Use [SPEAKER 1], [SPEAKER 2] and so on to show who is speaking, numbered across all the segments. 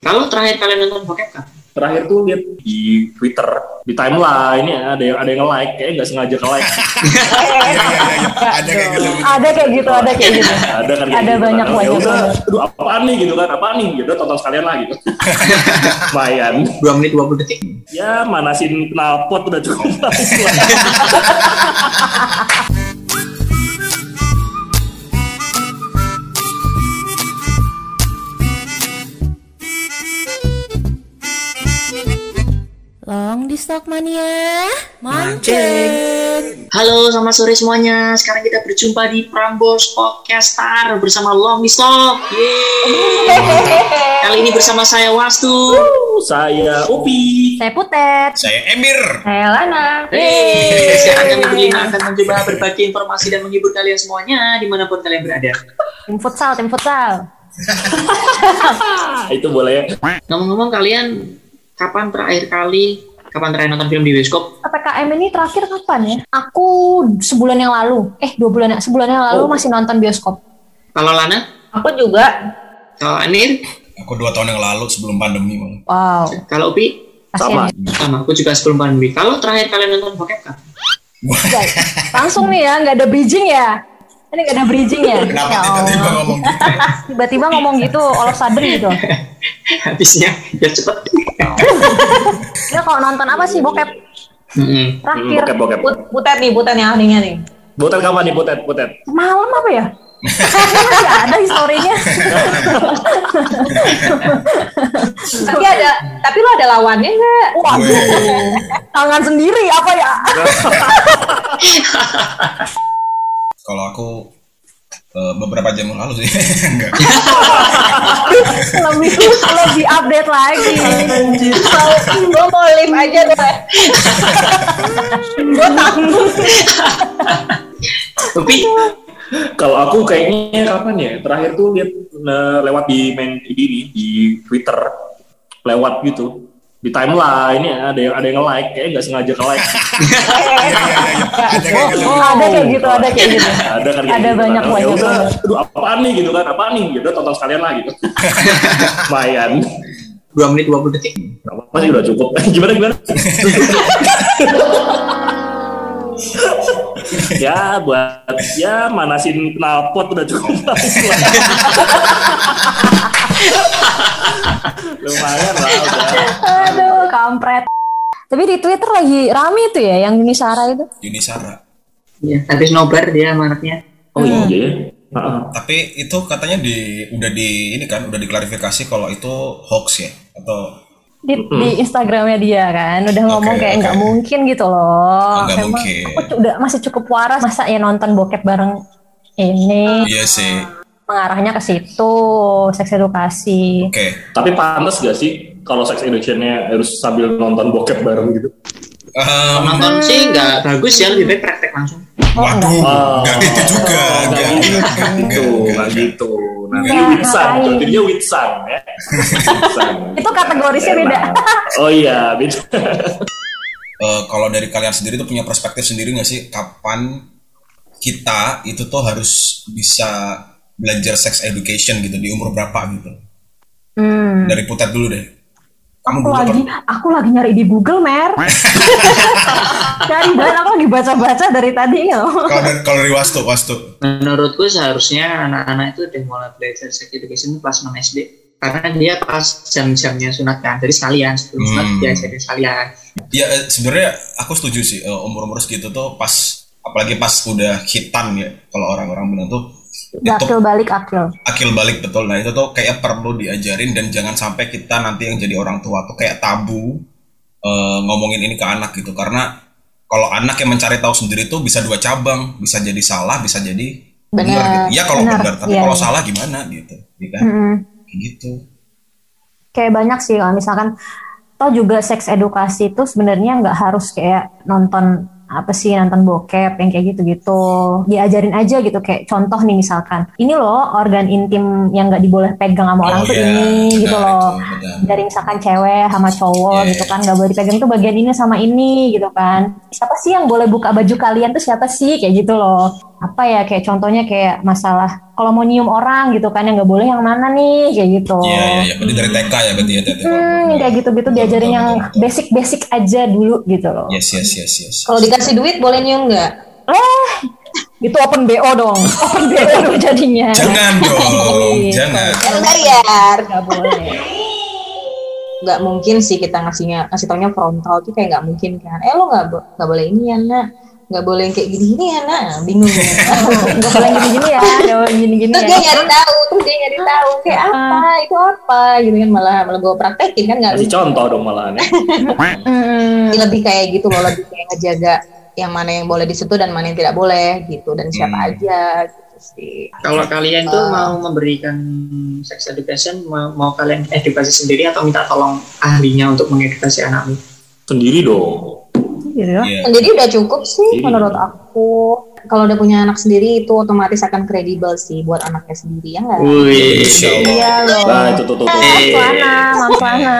[SPEAKER 1] Kalau terakhir kalian nonton bokep kan? kapan?
[SPEAKER 2] terakhir tuh lihat di Twitter di timeline ini ada yang ada yang like kayaknya nggak sengaja ke like
[SPEAKER 3] Iya, iya, iya, iya. Ada kayak gitu.
[SPEAKER 4] ada kayak gitu ada kayak gitu
[SPEAKER 2] ada kan
[SPEAKER 4] Ada banyak,
[SPEAKER 2] ya
[SPEAKER 4] banyak
[SPEAKER 2] udah
[SPEAKER 4] banget.
[SPEAKER 2] aduh apaan nih gitu kan apaan nih gitu tonton sekalian lah gitu lumayan
[SPEAKER 1] 2 menit 20 detik.
[SPEAKER 2] ya manasin knalpot udah cukup bagus lah.
[SPEAKER 5] Long di Stockmania Mancing
[SPEAKER 1] Halo, selamat sore semuanya. Sekarang kita berjumpa di Prambors Podcaster bersama Long Mistok. Yeay. Kali ini bersama saya Wastu.
[SPEAKER 2] saya Upi
[SPEAKER 4] saya putet
[SPEAKER 3] Saya Emir.
[SPEAKER 4] saya lana
[SPEAKER 1] Yeay. Sekarang kami berlima akan mencoba berbagi informasi dan menghibur kalian semuanya dimanapun kalian berada.
[SPEAKER 4] tim futsal tim futsal
[SPEAKER 2] Ah, itu boleh
[SPEAKER 1] Ngomong-ngomong kalian, kapan terakhir kali, kapan terakhir nonton film di bioskop?
[SPEAKER 4] PPKM ini terakhir kapan ya? Aku sebulan yang lalu, eh dua bulan, sebulan yang lalu
[SPEAKER 2] Oh.
[SPEAKER 4] masih nonton bioskop.
[SPEAKER 1] Kalau Lana?
[SPEAKER 6] Aku juga.
[SPEAKER 1] Kalau Anir?
[SPEAKER 3] Aku dua tahun yang lalu sebelum pandemi malah.
[SPEAKER 4] Wow,
[SPEAKER 1] Kalau Upi?
[SPEAKER 2] sama
[SPEAKER 4] kasihan. ya.
[SPEAKER 1] Sama, aku juga sebelum pandemi. Kalau terakhir kalian nonton bokep kan? kapan?
[SPEAKER 4] Guys, ya. Langsung nih ya, nggak ada bridging ya? Ini nggak ada bridging ya?
[SPEAKER 3] Kenapa
[SPEAKER 4] Ya
[SPEAKER 3] tiba-tiba
[SPEAKER 4] Allah.
[SPEAKER 3] ngomong gitu?
[SPEAKER 4] Tiba-tiba ngomong gitu, all of sudden gitu.
[SPEAKER 1] Habisnya, biar cepet.
[SPEAKER 4] Ya kalau nonton apa sih bokep
[SPEAKER 1] Mm-mm.
[SPEAKER 2] Hmm,
[SPEAKER 4] terakhir?
[SPEAKER 2] bokep bokep
[SPEAKER 6] Put- putet nih, putet nih ahlinya nih.
[SPEAKER 2] butet kapan nih butet butet
[SPEAKER 4] Malam apa ya? Masih ada historinya.
[SPEAKER 6] Tapi ada, tapi lo ada lawannya nggak?
[SPEAKER 4] Waduh,
[SPEAKER 3] Weh.
[SPEAKER 4] tangan sendiri apa ya?
[SPEAKER 3] Kalau aku eh, beberapa jam yang lalu sih. Enggak.
[SPEAKER 4] lebih lebih update lagi.
[SPEAKER 6] Mau, gue mau live aja deh. gue takut.
[SPEAKER 1] Upi?
[SPEAKER 2] kalau aku kayaknya kapan ya terakhir tuh lihat eh, lewat di main di ini, di Twitter lewat gitu di timeline ini ada yang ada yang like kayaknya nggak sengaja ke like
[SPEAKER 3] Iya, iya, iya, iya. Ada kayak gitu.
[SPEAKER 4] Oh, Ada kayak gitu, ada kayak gitu.
[SPEAKER 2] ada kan kayak gitu
[SPEAKER 4] Ada banyak,
[SPEAKER 2] kan. Ya
[SPEAKER 4] banyak,
[SPEAKER 2] udah,
[SPEAKER 4] banyak.
[SPEAKER 2] aduh apaan nih gitu kan apaan nih gitu tonton sekalian lah gitu lumayan
[SPEAKER 1] 2 menit 20 detik.
[SPEAKER 2] Nggak apa-apa sih udah cukup gimana gimana ya buat ya manasin knalpot udah cukup bagus lah. lumayan lah udah
[SPEAKER 4] Aduh, kampret. Tapi di Twitter lagi rame itu ya, yang Yuni Sara itu.
[SPEAKER 3] Yunisara.
[SPEAKER 1] Ya, habis nobar dia sama anaknya.
[SPEAKER 2] oh iya ya Heeh.
[SPEAKER 3] Tapi itu katanya di udah di ini kan udah diklarifikasi kalau itu hoax ya atau
[SPEAKER 4] Di, di Instagramnya dia kan, udah ngomong
[SPEAKER 3] Oke,
[SPEAKER 4] kayak
[SPEAKER 3] oke.
[SPEAKER 4] nggak mungkin gitu loh.
[SPEAKER 3] Nggak
[SPEAKER 4] Emang
[SPEAKER 3] mungkin.
[SPEAKER 4] aku cu- udah masih cukup waras masa ya nonton bokep bareng ini
[SPEAKER 3] iya sih.
[SPEAKER 4] mengarahnya ke situ seks edukasi
[SPEAKER 3] Oke.
[SPEAKER 2] tapi pantas gak sih kalau sex education-nya harus sambil nonton bokep bareng gitu
[SPEAKER 3] Em,
[SPEAKER 1] Nonton sih nggak bagus ya, lebih baik praktek langsung.
[SPEAKER 4] Oh,
[SPEAKER 3] waduh, enggak gitu juga.
[SPEAKER 2] Oh. Nggak gitu, nggak
[SPEAKER 3] Enggak, enggak, enggak,
[SPEAKER 2] gitu,
[SPEAKER 3] enggak,
[SPEAKER 2] nggak
[SPEAKER 3] enggak.
[SPEAKER 2] gitu. Nanti
[SPEAKER 4] Nggak,
[SPEAKER 2] Witsan,
[SPEAKER 4] ngapain.
[SPEAKER 2] kalau dirinya Witsan ya. Witsan.
[SPEAKER 4] Itu kategorisnya beda.
[SPEAKER 2] Oh iya, beda.
[SPEAKER 3] Eh, kalau dari kalian sendiri tuh punya perspektif sendiri nggak sih kapan kita itu tuh harus bisa belajar sex education gitu di umur berapa gitu
[SPEAKER 4] Hmm.
[SPEAKER 3] dari putar dulu deh kamu
[SPEAKER 4] aku
[SPEAKER 3] dulu
[SPEAKER 4] lagi
[SPEAKER 3] apa?
[SPEAKER 4] aku lagi nyari di Google mer cari banget kan aku lagi baca-baca dari tadi ya
[SPEAKER 3] kalau dari, kalau dari wastu wastu
[SPEAKER 1] Menurutku seharusnya anak-anak itu udah mulai belajar sex education itu kelas 6 SD. Karena dia pas jam-jamnya sunat kan, jadi sekalian sebelum sunat
[SPEAKER 3] Hmm.
[SPEAKER 1] dia sekalian. sekalian.
[SPEAKER 3] ya eh, sebenarnya aku setuju sih umur umur segitu tuh pas apalagi pas udah hitan ya kalau orang-orang bilang tuh itu Ya.
[SPEAKER 4] akil balik akil
[SPEAKER 3] akil balik betul nah itu tuh kayak perlu diajarin dan jangan sampai kita nanti yang jadi orang tua tuh kayak tabu eh, ngomongin ini ke anak gitu karena kalau anak yang mencari tahu sendiri tuh bisa dua cabang bisa jadi salah bisa jadi benar gitu ya kalau
[SPEAKER 4] Benar,
[SPEAKER 3] benar tapi
[SPEAKER 4] iya,
[SPEAKER 3] kalau
[SPEAKER 4] iya. Hmm.
[SPEAKER 3] salah gimana gitu ya kan
[SPEAKER 4] Mm-mm.
[SPEAKER 3] Kayak gitu
[SPEAKER 4] kayak banyak sih kalau misalkan toh juga seks edukasi itu sebenarnya nggak harus kayak nonton apa sih nonton bokep yang kayak gitu-gitu diajarin aja gitu kayak contoh nih misalkan ini loh organ intim yang nggak diboleh pegang sama orang
[SPEAKER 3] Oh,
[SPEAKER 4] tuh
[SPEAKER 3] iya,
[SPEAKER 4] ini
[SPEAKER 3] benar
[SPEAKER 4] gitu loh
[SPEAKER 3] itu, benar.
[SPEAKER 4] dari misalkan cewek sama cowok
[SPEAKER 3] Iya,
[SPEAKER 4] gitu
[SPEAKER 3] iya.
[SPEAKER 4] kan nggak boleh dipegang tuh bagian ini sama ini gitu kan siapa sih yang boleh buka baju kalian tuh siapa sih kayak gitu loh apa ya kayak contohnya kayak masalah kalau mau nyium orang gitu kan yang nggak boleh yang mana nih kayak gitu.
[SPEAKER 3] Iya, iya, iya. Berarti dari TK ya berarti ya. TK.
[SPEAKER 4] Hmm, kayak gitu-gitu diajarin yang basic-basic aja dulu gitu loh.
[SPEAKER 3] Yes, yes, yes, yes.
[SPEAKER 6] Kalau dikasih duit boleh nyium nggak?
[SPEAKER 4] Itu open BO dong. Open BO dong jadinya.
[SPEAKER 3] Jangan dong, jangan.
[SPEAKER 6] Jangan bayar.
[SPEAKER 4] Nggak boleh.
[SPEAKER 6] Nggak mungkin sih kita ngasihnya ngasih taunya frontal tuh kayak nggak mungkin kan. Eh lo nggak bo- nggak boleh ini ya nak. Nggak boleh yang kayak gini gini ya nak. Bingung. ya.
[SPEAKER 4] Nggak boleh gini-gini ya. Nggak boleh gini-gini
[SPEAKER 6] terus
[SPEAKER 4] ya.
[SPEAKER 6] dia nyari tahu, terus dia nyari tahu kayak apa itu apa gitu kan malah malah gue praktekin kan nggak
[SPEAKER 2] Kasih contoh dong malahan ya.
[SPEAKER 4] Hmm.
[SPEAKER 6] Jadi lebih kayak gitu loh lebih kayak ngejaga yang mana yang boleh disentuh dan mana yang tidak boleh gitu dan siapa
[SPEAKER 3] Hmm.
[SPEAKER 6] aja gitu sih
[SPEAKER 1] Kalau kalian tuh mau memberikan sex education, mau, mau kalian edukasi sendiri atau minta tolong ahlinya untuk mengedukasi anakmu?
[SPEAKER 2] Sendiri dong.
[SPEAKER 4] Gitu.
[SPEAKER 3] Iya.
[SPEAKER 6] sendiri Nah, udah cukup sih
[SPEAKER 2] Sendiri.
[SPEAKER 6] menurut aku kalau udah punya anak sendiri itu otomatis akan kredibel sih buat anaknya sendiri ya
[SPEAKER 2] Iya.
[SPEAKER 6] nggak
[SPEAKER 1] Wih,
[SPEAKER 4] Iya loh.
[SPEAKER 2] Nah, itu tuh tuh. tuh.
[SPEAKER 1] Eh.
[SPEAKER 3] Iya.
[SPEAKER 4] Mamplana, mamplana.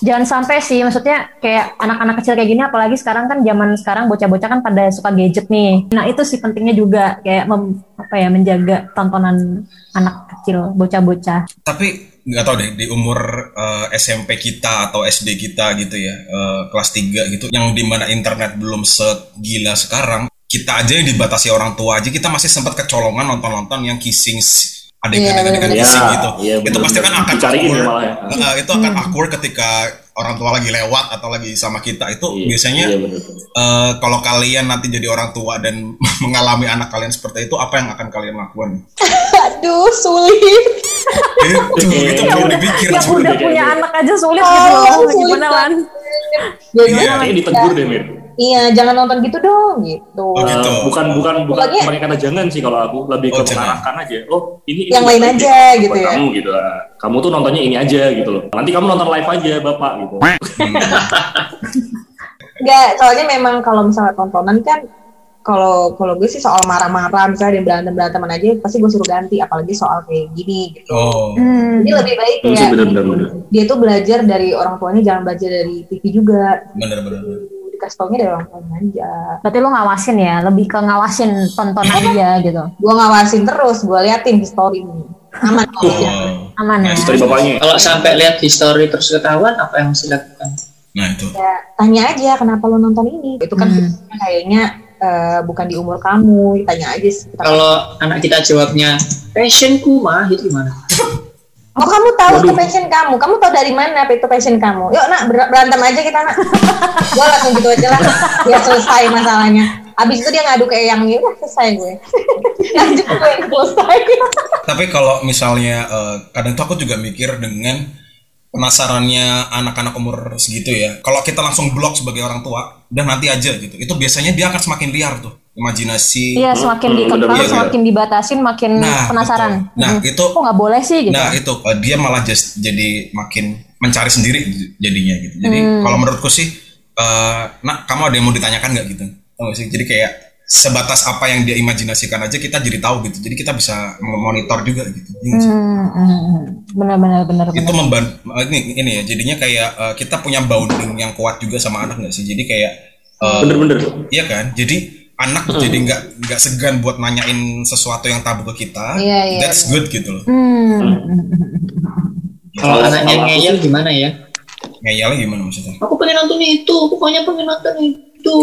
[SPEAKER 4] Jangan sampai sih, maksudnya kayak anak-anak kecil kayak gini, apalagi sekarang kan zaman sekarang bocah-bocah kan pada suka gadget nih. Nah itu sih pentingnya juga kayak mem- apa ya menjaga tontonan anak kecil, bocah-bocah.
[SPEAKER 3] tapi nggak tahu deh di umur eh, SMP kita atau SD kita gitu ya eh, kelas 3 gitu yang dimana internet belum segila sekarang kita aja yang dibatasi orang tua aja kita masih sempat kecolongan nonton-nonton yang kissing s- adegan-adegan
[SPEAKER 2] Iya,
[SPEAKER 3] kissing gitu
[SPEAKER 2] iya,
[SPEAKER 3] itu
[SPEAKER 2] bener-bener.
[SPEAKER 3] pasti kan akan
[SPEAKER 2] Dicariin
[SPEAKER 3] awkward.
[SPEAKER 2] malah ya.
[SPEAKER 3] Eh, itu akan
[SPEAKER 4] Hmm.
[SPEAKER 3] awkward ketika orang tua lagi lewat atau lagi sama kita itu
[SPEAKER 2] Iya,
[SPEAKER 3] biasanya
[SPEAKER 2] iya, bener.
[SPEAKER 3] eh, kalau kalian nanti jadi orang tua dan mengalami anak kalian seperti itu apa yang akan kalian lakukan
[SPEAKER 6] aduh sulit
[SPEAKER 3] itu itu perlu dipikir
[SPEAKER 4] Yang
[SPEAKER 3] cuy.
[SPEAKER 4] udah
[SPEAKER 2] kayak
[SPEAKER 4] punya
[SPEAKER 2] gitu.
[SPEAKER 4] anak aja sulit
[SPEAKER 6] Oh,
[SPEAKER 4] gitu loh.
[SPEAKER 6] sulit
[SPEAKER 4] Gimana lan?
[SPEAKER 6] Ya,
[SPEAKER 3] Iya.
[SPEAKER 6] gimana?
[SPEAKER 2] Kayaknya ditegur deh, Mir.
[SPEAKER 6] iya jangan nonton gitu dong gitu
[SPEAKER 3] Oh, gitu.
[SPEAKER 2] Eh, bukan bukan bukan
[SPEAKER 6] Pokoknya-
[SPEAKER 2] mereka kata jangan sih kalau aku lebih ke
[SPEAKER 3] Oh, jangan.
[SPEAKER 2] mengarahkan aja oh ini ini
[SPEAKER 6] Yang
[SPEAKER 2] buat
[SPEAKER 6] lain
[SPEAKER 2] kamu,
[SPEAKER 6] aja,
[SPEAKER 2] buat
[SPEAKER 6] gitu ya.
[SPEAKER 2] kamu gitu lah. kamu tuh nontonnya ini aja gitu loh nanti kamu nonton live aja bapak gitu
[SPEAKER 6] Iya.
[SPEAKER 3] Hmm.
[SPEAKER 6] Enggak, soalnya memang kalau misalnya tontonan kan kalau kalau gue sih soal marah-marah misalnya ada berantem beranteman aja pasti gue suruh ganti apalagi soal kayak gini gitu.
[SPEAKER 3] oh
[SPEAKER 4] Hmm.
[SPEAKER 6] Jadi lebih baik
[SPEAKER 2] Iya sih,
[SPEAKER 6] ya
[SPEAKER 2] bener, bener, bener.
[SPEAKER 6] dia tuh belajar dari orang tuanya jangan belajar dari TV juga.
[SPEAKER 3] bener-bener
[SPEAKER 6] Dikasih taunya dari orang tuanya aja.
[SPEAKER 4] Berarti lo ngawasin ya, lebih ke ngawasin tontonan dia gitu.
[SPEAKER 6] Gue ngawasin terus, gue liatin history ini. Aman kok. ya.
[SPEAKER 3] Oh,
[SPEAKER 4] Aman ya.
[SPEAKER 2] dari bapaknya
[SPEAKER 1] Kalau sampai lihat history terus ketahuan, apa yang harus dilakukan?
[SPEAKER 3] nah itu.
[SPEAKER 6] Ya, Tanya aja kenapa lo nonton ini. Itu kan kayaknya eh, bukan di umur kamu, tanya aja sih.
[SPEAKER 1] Kalau anak kita jawabnya passionku mah, itu gimana?
[SPEAKER 6] Oh kamu tahu itu
[SPEAKER 2] Waduh.
[SPEAKER 6] passion kamu, kamu tahu dari mana itu passion kamu? Yuk nak ber- berantem aja kita nak. gue langsung gitu aja lah, biar selesai masalahnya. Abis itu dia ngadu ke yang "Ya udah selesai gue. Lanjut gue yang selesai.
[SPEAKER 3] Tapi kalau misalnya eh, kadang tuh aku juga mikir dengan penasarannya anak-anak umur segitu ya. Kalau kita langsung blok sebagai orang tua dan nanti aja gitu. Itu biasanya dia akan semakin liar tuh imajinasi.
[SPEAKER 4] Iya, semakin
[SPEAKER 2] Hmm,
[SPEAKER 4] dikekang,
[SPEAKER 2] bener-bener.
[SPEAKER 4] semakin dibatasin, makin penasaran.
[SPEAKER 3] betul. Nah,
[SPEAKER 4] Hmm.
[SPEAKER 3] itu
[SPEAKER 4] Kok nggak boleh sih
[SPEAKER 6] Iya.
[SPEAKER 4] gitu?
[SPEAKER 3] Nah itu eh, dia malah just jadi makin mencari sendiri jadinya gitu. Jadi
[SPEAKER 6] Hmm.
[SPEAKER 3] kalau menurutku sih, eh, nak kamu ada yang mau ditanyakan nggak gitu? Tau nggak sih? Jadi kayak sebatas apa yang dia imajinasikan aja kita jadi tahu gitu. Jadi kita bisa memonitor juga gitu. Iya nggak sih?
[SPEAKER 4] Hmm, hmm, hmm. benar benar benar
[SPEAKER 3] Itu
[SPEAKER 6] Hmm.
[SPEAKER 4] benar.
[SPEAKER 3] membantu ini, ini ya. Jadinya kayak eh, kita punya bounding yang kuat juga sama anak nggak sih? Jadi kayak eh,
[SPEAKER 2] bener-bener
[SPEAKER 3] iya kan? Jadi anak
[SPEAKER 6] Hmm.
[SPEAKER 3] jadi nggak nggak segan buat nanyain sesuatu yang tabu ke kita.
[SPEAKER 6] Iya, iya,
[SPEAKER 3] That's good gitu loh.
[SPEAKER 4] Hmm.
[SPEAKER 1] Kalau
[SPEAKER 2] Kalau-
[SPEAKER 1] anaknya
[SPEAKER 2] kalau aku
[SPEAKER 1] ngeyel gimana ya?
[SPEAKER 3] Ngeyelnya gimana maksudnya?
[SPEAKER 1] Aku pengen nonton itu, pokoknya pengen nonton itu.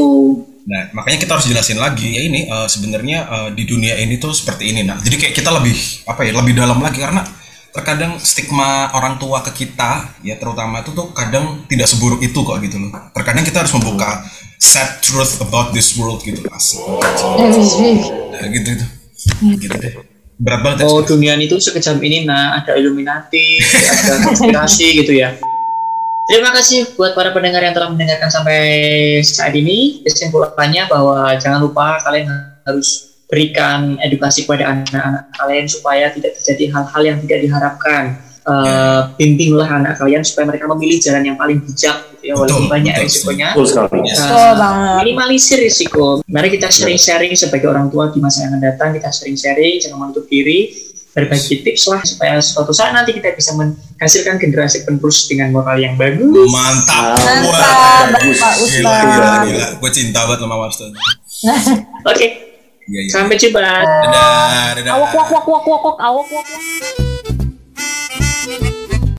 [SPEAKER 3] Nah, makanya kita harus jelasin lagi ya ini eh, sebenarnya eh, di dunia ini tuh seperti ini. Nah, jadi kayak kita lebih apa ya, lebih dalam lagi karena terkadang stigma orang tua ke kita ya terutama itu tuh kadang tidak seburuk itu kok gitu loh. Terkadang kita harus membuka sad truth about this world gitu. Asik. Nah, gitu itu. Gitu deh. Berat banget. ya.
[SPEAKER 1] Oh dunia itu sekejam ini nah ada Illuminati, ada konspirasi gitu ya. Terima kasih buat para pendengar yang telah mendengarkan sampai saat ini. Kesimpulannya bahwa jangan lupa kalian harus berikan edukasi kepada anak-anak kalian supaya tidak terjadi hal-hal yang tidak diharapkan. Eh, bimbinglah anak kalian supaya mereka memilih jalan yang paling bijak gitu ya walaupun
[SPEAKER 3] Betul,
[SPEAKER 1] banyak
[SPEAKER 3] betul.
[SPEAKER 1] risikonya.
[SPEAKER 2] full sekali
[SPEAKER 3] Yes.
[SPEAKER 1] Eh, minimalisir risiko. Mari kita sharing-sharing sebagai orang tua di masa yang akan datang. Kita sharing-sharing, jangan menutup diri, berbagi tips lah supaya suatu saat nanti kita bisa menghasilkan generasi penerus dengan moral yang bagus.
[SPEAKER 3] Mantap.
[SPEAKER 6] Mantap,
[SPEAKER 3] Wah,
[SPEAKER 6] Bapak
[SPEAKER 3] bagus. Gila,
[SPEAKER 6] Ustaz.
[SPEAKER 3] gila, gila. Gue cinta banget sama Wastu.
[SPEAKER 1] Oke,
[SPEAKER 3] Iya, iya.
[SPEAKER 1] Sampai jumpa.
[SPEAKER 3] Dadah, dadah.
[SPEAKER 4] Awok, wok, wok, wok, wok, wok, awok, wok, wok.